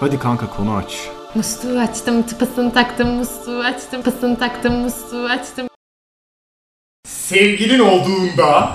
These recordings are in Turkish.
Hadi kanka konu aç. Musluğu açtım, tıpasını taktım, musluğu açtım, tıpasını taktım, musluğu açtım. Sevgilin olduğunda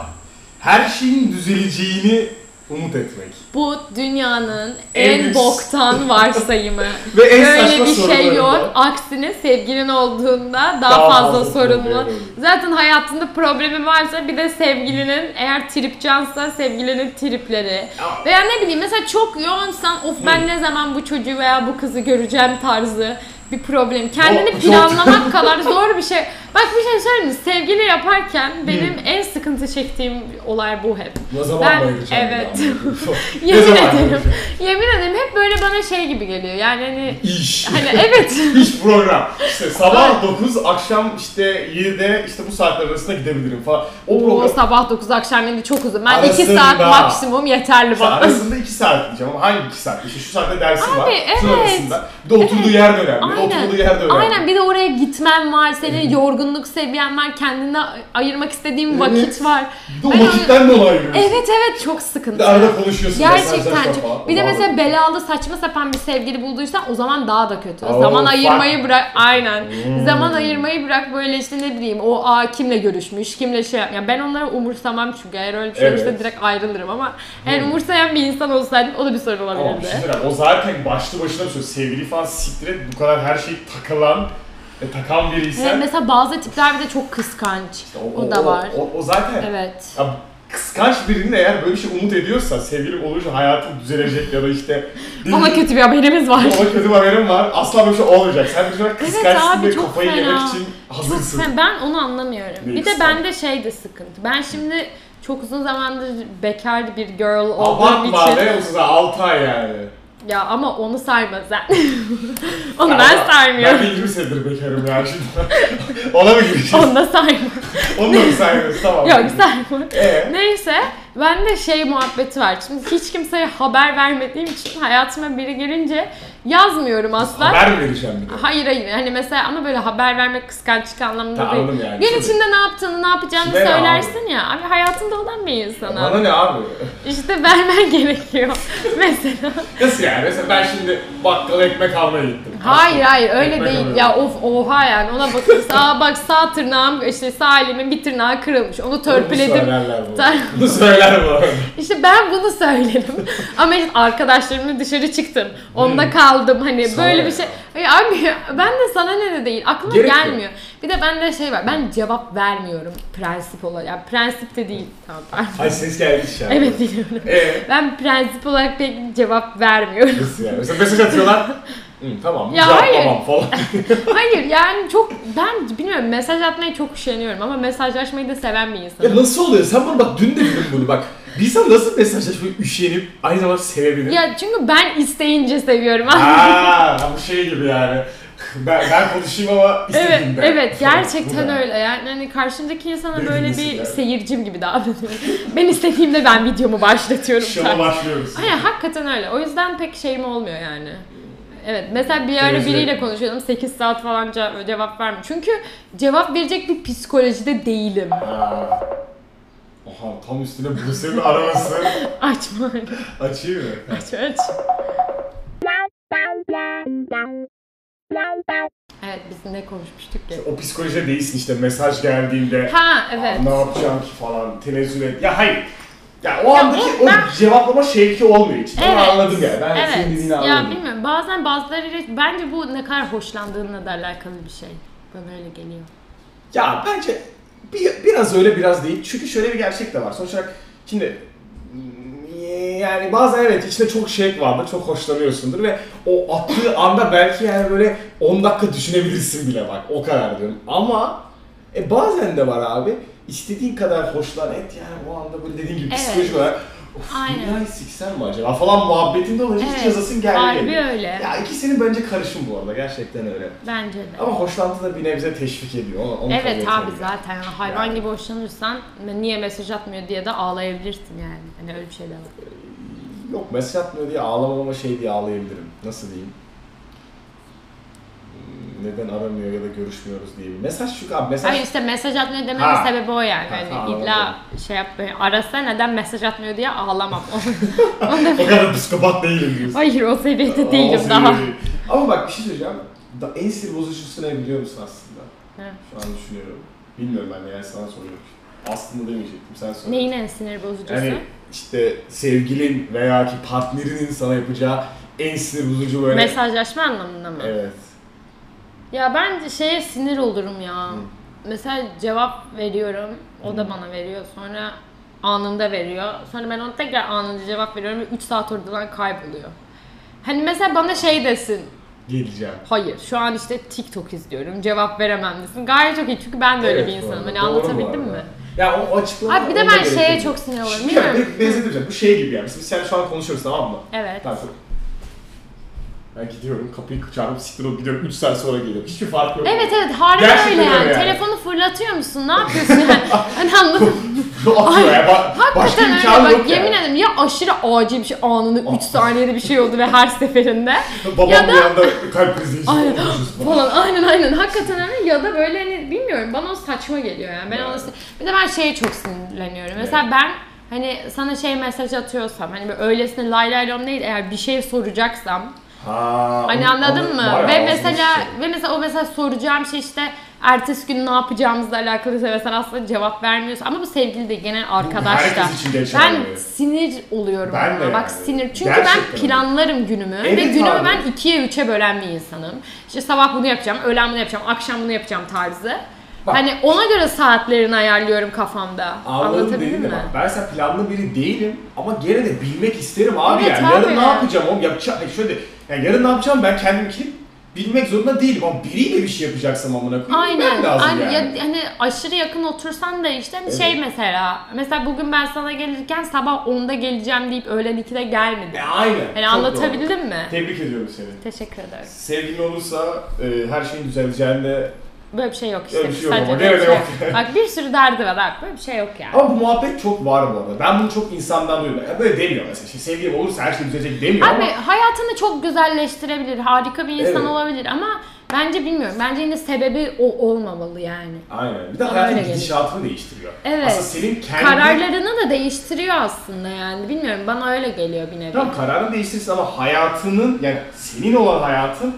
her şeyin düzeleceğini umut etmek. Bu dünyanın En en, lüks. boktan varsayımı. Ve en Böyle saçma bir şey soruları yok. da. Aksine sevgilin olduğunda daha, Daha fazla, fazla sorumlu. problem. Zaten hayatında problemi varsa bir de sevgilinin eğer tripcansa sevgilinin tripleri. Ya. Veya ne bileyim mesela çok yoğunsan of ben ne zaman bu çocuğu veya bu kızı göreceğim tarzı bir problem. Kendini çok- planlamak kadar zor bir şey. Bak bir şey söyleyeyim mi? Sevgili yaparken benim en sıkıntı çektiğim olay bu hep. Ne zaman Ben- bayılacağım evet. ya? Ne Yemin zaman ederim. bayılacağım? Yemin ederim hep böyle bana şey gibi geliyor. Yani hani İş. hani evet. İş program. İşte sabah 9, akşam işte 7'de işte bu saatler arasında gidebilirim falan. O O program sabah 9 akşam 7 çok uzun. Ben Arasında. 2 saat maksimum yeterli İşte bana. arasında 2 saat diyeceğim ama hangi 2 saat? İşte şu saatte dersi Abi, var. Şu evet. arasında. Bir de oturduğu yer de önemli. Aynen. Oturduğu yer de önemli. Aynen bir de oraya gitmen var, senin yorgunluk seviyen var, kendine ayırmak istediğin Evet. vakit var. Bir de o Ben vakitten dolayı görüyorsun. Evet evet çok Bir sıkıntı. de arada konuşuyorsun. Gerçekten mesajlaşma çok. falan. Bir de O da mesela var. belalı saçma sapan bir sevgili bulduysan o zaman daha da kötü. Oo, zaman fuck. Hmm. ayırmayı bırak. Aynen. Zaman ayırmayı bırak böyle işte ne bileyim o a kimle görüşmüş, kimle şey yap. Ya ben onları umursamam çünkü eğer öyle bir şey Evet. Hmm. olursa direkt ayrılırım ama eğer umursayan bir insan olsaydım o da bir sorun Ama bir olabilirdi. şey söyleyeyim, o zaten başlı başına bir söz. Sevgili falan siktir et bu kadar her şeyi takılan e, takan Ve biriysen. mesela bazı tipler bir de çok kıskanç. o, da var. O, o zaten Evet. Ya kıskanç birinin eğer böyle bir şey umut ediyorsa sevgili olunca hayatın düzelecek ya da işte Ona kötü bir haberimiz var. ona kötü bir haberim var asla böyle bir şey olmayacak. Sen bir şey olarak Evet kıskançsın abi, ve çok kafayı yemek fena. için Çok hazırsın. sen- ben onu anlamıyorum. Neyi bir de kıskanç? bende şey de sıkıntı. Ben şimdi çok uzun zamandır bekar bir girl olduğum Abartma için. ne olsun 6 ay yani. Ya ama onu sayma sen. onu Ya, ben saymıyorum. Ben de 20 senedir bekarım ya şimdi. Ona mı gireceğiz? Onu da sayma. Onu da mı saymıyoruz? Tamam. Yok sayma. Ee? Neyse ben de şey muhabbeti var. Şimdi hiç kimseye haber vermediğim için hayatıma biri girince yazmıyorum asla. Haber mi vereceğim bir de? Hayır hayır hani mesela ama böyle haber vermek kıskançlık anlamında Ha, değil. anladım yani. Gün Tabii. içinde ne yaptığını ne yapacağını Kime ne söylersin ya. Abi hayatında olan bir insana. Bana ne abi? İşte vermen gerekiyor mesela. Nasıl yani? Mesela ben şimdi bakkala ekmek almaya gittim. Hayır hayır öyle Ekmek değil. alıyorum. Ya of oha yani ona bakıyorsun. Aa bak sağ tırnağım işte sağ elimin bir tırnağı kırılmış. Onu Bunu törpüledim. söylerler bu. Sen- Bunu söyler bu. İşte ben bunu söylerim. Ama işte arkadaşlarımla dışarı çıktım. Hmm. Onda kaldım hani Sağ böyle ol. bir şey. Ay abi ben de sana ne de değil. Aklıma Gerek yok. gelmiyor. Bir de bende şey var. Ben cevap vermiyorum prensip olarak. Yani prensip de değil. Tamam pardon. Ay ses geldi şu an. Evet biliyorum. Ee, Ben prensip olarak pek cevap vermiyorum. nasıl yani? Mesela mesaj atıyorlar. Hı, tamam. Ya cevap hayır. Tamam falan. Hayır yani çok ben bilmiyorum mesaj atmaya çok üşeniyorum ama mesajlaşmayı da seven bir insanım. ya nasıl oluyor? Sen bunu bak dün de dedim bunu bak. Bir insan nasıl mesajlaşmayı üşenip aynı zamanda sevebilir? Ya çünkü ben isteyince seviyorum. Aa, bu şey gibi yani. Ben, ben konuşayım ama evet, istediğimde. evet Bu gerçekten da. öyle. Yani hani karşımdaki insana Beni böyle dinlesin bir yani. seyircim gibi davranıyorum. ben istediğimde ben videomu başlatıyorum. Şova başlıyoruz. Hayır hakikaten öyle. O yüzden pek şeyim olmuyor yani. Evet mesela bir ara Tenezzül biriyle etmiyor. konuşuyordum 8 saat falan ce- cevap vermiyor. Çünkü cevap verecek bir psikolojide değilim. Aa. Oha tam üstüne Buse'nin araması. Açma Açayım mı? aç aç. Evet biz ne konuşmuştuk ya? O psikolojide değilsin işte mesaj geldiğinde. Ha evet. Ne yapacağım ki falan tenezzül et. Ya hayır. Ya o andaki bu- o ben- cevaplama şevki olmuyor hiç. Bunu anladım ya. Ben evet. senin dediğini Ya anladım. bilmiyorum bazen bazıları bence bu ne kadar hoşlandığınla da alakalı bir şey. Bana öyle geliyor. Ya bence bir, biraz öyle biraz değil. Çünkü şöyle bir gerçek de var. Sonuç olarak şimdi mm, yani bazen evet içinde çok şevk vardır, çok hoşlanıyorsundur ve o attığı anda belki yani böyle 10 dakika düşünebilirsin bile bak o kadar diyorum. Ama e, bazen de var abi istediğin kadar hoşlan et yani o anda böyle dediğin gibi Evet. psikolojik olarak of Aynen. dünyayı siksen mi acaba falan muhabbetinde olunca hiç Evet, yazasın gelmiyor. harbi öyle. Ya ikisinin bence karışım bu arada gerçekten öyle. Bence de. Ama hoşlantı da bir nebze teşvik ediyor. Onu, onu evet kabul abi etmeli. zaten hayvan Yani. gibi hoşlanırsan niye mesaj atmıyor diye de ağlayabilirsin yani. Hani öyle bir şey de var. Yok mesaj atmıyor diye ağlamama şey diye ağlayabilirim. Nasıl diyeyim? neden aramıyor ya da görüşmüyoruz diye bir mesaj çünkü abi mesaj Hayır işte mesaj atmıyor dememin Ha. sebebi o yani. Ha, Hani ha, illa şey yap, arasa neden mesaj atmıyor diye ağlamam. o kadar psikopat değilim diyorsun. Hayır o seviyede Aa, değilim o seni daha. öyle- Ama bak bir şey söyleyeceğim. Da, en sinir bozucusu ne biliyor musun aslında? He. Şu an düşünüyorum. Bilmiyorum ben de yani sana soruyorum. Aslında demeyecektim sen söyle. Neyin en sinir bozucusu? Yani işte sevgilin veya ki partnerinin sana yapacağı en sinir bozucu böyle. Mesajlaşma anlamında mı? Evet. Ya ben şeye sinir olurum ya. Hı. Mesela cevap veriyorum, o da bana veriyor. Sonra anında veriyor. Sonra ben ona tekrar anında cevap veriyorum ve 3 saat oradan kayboluyor. Hani mesela bana şey desin, Geleceğim. hayır şu an işte TikTok izliyorum, cevap veremem desin. Gayet çok iyi çünkü ben de öyle Evet, bir bu insanım. arada. Hani Doğru anlatabildim bu arada. mi? Ya o açıklama... Abi bir de ona ben gerek şeye yok. çok sinir olurum. Şimdi ya bilmiyorum. ben benzetireceğim. Bu şey gibi yani. Biz sen şu an konuşuyoruz tamam mı? Evet. Tamam. Ben gidiyorum kapıyı çağırıp siktir olup gidiyorum 3 saat sonra geliyorum. Hiçbir fark yok. Evet evet harika Gerçekten öyle yani. öyle yani. Telefonu fırlatıyor musun? Ne yapıyorsun yani? Hani anladın mı? Atıyor ya. Ba- başka Hakikaten imkan öyle. yok Bak yani. Ah. yemin ederim ya aşırı acil bir şey anında 3 saniyede bir şey oldu ve her seferinde Babam Ya da- bir anda kalp krizi Ay, Hani geçirdi. falan aynen aynen hakikaten öyle ya da böyle hani bilmiyorum bana o saçma geliyor yani. Ben Yani. ona sin- bir de ben şeye çok sinirleniyorum. Mesela ben hani sana şey mesaj atıyorsam hani böyle öylesine lay lay lom değil eğer bir şey soracaksam Ha, Hani onu- anladın onu- mı? bayağı Ve ağzını mesela sıçıyor. ve mesela o mesela soracağım şey işte ertesi gün ne yapacağımızla alakalı ve sen aslında cevap vermiyorsun. Ama bu sevgili de genel arkadaş da. herkes için geçerli. Ben sinir oluyorum Ben ona. de Bak yani. sinir. Çünkü Gerçekten. ben planlarım günümü ve Evet günümü abi. ben ikiye üçe bölen bir insanım. İşte sabah bunu yapacağım, öğlen bunu yapacağım, akşam bunu yapacağım tarzı. Bak. Hani ona göre saatlerini ayarlıyorum kafamda. Anladım Anlatabildim dediğin de mi? bak ben sen planlı biri değilim ama gene de bilmek isterim abi Evet yani. abi Yarın ne ya. yapacağım oğlum yapacağım. e şöyle yani yarın ne yapacağım ben kendim kim bilmek zorunda değilim ama biriyle bir şey yapacaksam amına koyayım Aynen. bilmem lazım Aynen. yani. Ya, hani aşırı yakın otursan da işte hani Evet. şey mesela. Mesela bugün ben sana gelirken sabah 10'da geleceğim deyip öğlen 2'de gelmedim. E, aynen. Hani Çok anlatabildim mi? doğru. Tebrik ediyorum seni. Teşekkür ederim. Sevgilin olursa e, her şeyin düzeleceğini de... Böyle bir şey yok işte. Öyle bir şey yok Sadece ama, böyle öyle bir şey yok. yok. Bak bir sürü derdi var bak. Böyle bir şey yok yani. Ama bu muhabbet çok var bu arada. Ben bunu çok insandan duyuyorum. Ya böyle demiyor mesela. İşte sevgilim olursa her şey düzelecek demiyor Abi ama... hayatını çok güzelleştirebilir, harika bir insan Evet. olabilir ama bence bilmiyorum. Bence yine sebebi o olmamalı yani. Aynen. Bir de Bana öyle hayatın geliyor. gidişatını değiştiriyor. Evet. Aslında senin kendi... Kararlarını da değiştiriyor aslında yani. Bilmiyorum bana öyle geliyor bir nevi. Tamam kararını değiştirirsin ama hayatının yani senin olan hayatın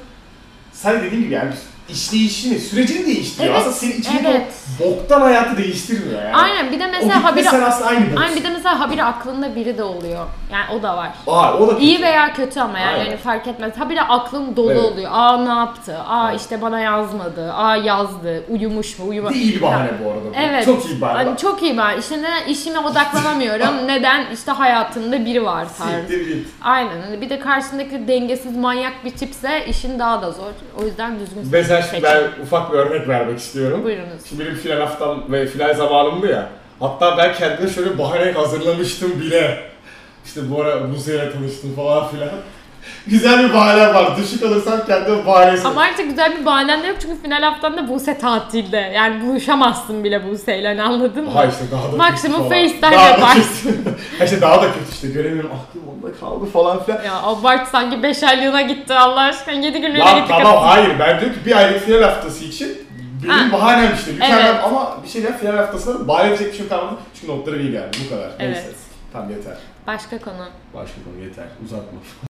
sen dediğin gibi yani işleyişini, sürecini değiştiriyor. Evet, Aslında senin içindeki evet. o boktan hayatı değiştirmiyor yani. Aynen bir de O mesela mesela habire sen aslında aynı boksun. Ay bir de mesela habire aklında biri de oluyor. Yani o da var. Aa, o da kötü. İyi veya kötü ama yani, Aynen. yani fark etmez. Habire aklın dolu Evet. oluyor. Aa ne yaptı? Aa Evet. işte bana yazmadı. Aa yazdı. Uyumuş mu? Bir Uyuma. de iyi bir bahane bu arada. bu. Evet. Çok iyi bir bahane. Hani çok iyi var. İşte neden işime odaklanamıyorum? neden işte hayatımda biri var tarzı. Siktir git. Aynen. Hani bir de karşındaki dengesiz manyak bir tipse işin daha da zor. O yüzden düzgün Mesela seçim. şimdi ben ufak bir örnek vermek istiyorum. Buyurunuz. Şimdi benim final haftam ve final zamanımdı ya. Hatta ben kendime şöyle bahane hazırlamıştım bile. İşte bu ara Buze'yle tanıştım falan filan. Güzel bir bahane var. Düşük alırsam kendime bahanesi. Ama artık güzel bir bahanen de yok çünkü final haftanda Buse tatilde. Yani buluşamazsın bile Buse'yle hani anladın mı? Aha işte daha da kötü Maksimum falan. FaceTime Daha da yaparsın. kötü. Ha işte daha da kötü işte göremiyorum aklım onda kaldı falan filan. Ya abart sanki 5 aylığına gitti Allah aşkına 7 günlüğüne Lan gitti. tamam hayır ben diyorum ki bir aylık final haftası için benim Ha. bahanem işte mükemmel Evet. ama bir şey diyeyim final haftasında da bahane edecek bir şey kalmadı çünkü notları iyi geldi bu kadar. Neyse Evet. tamam yeter. Başka konu. Başka konu yeter uzatma.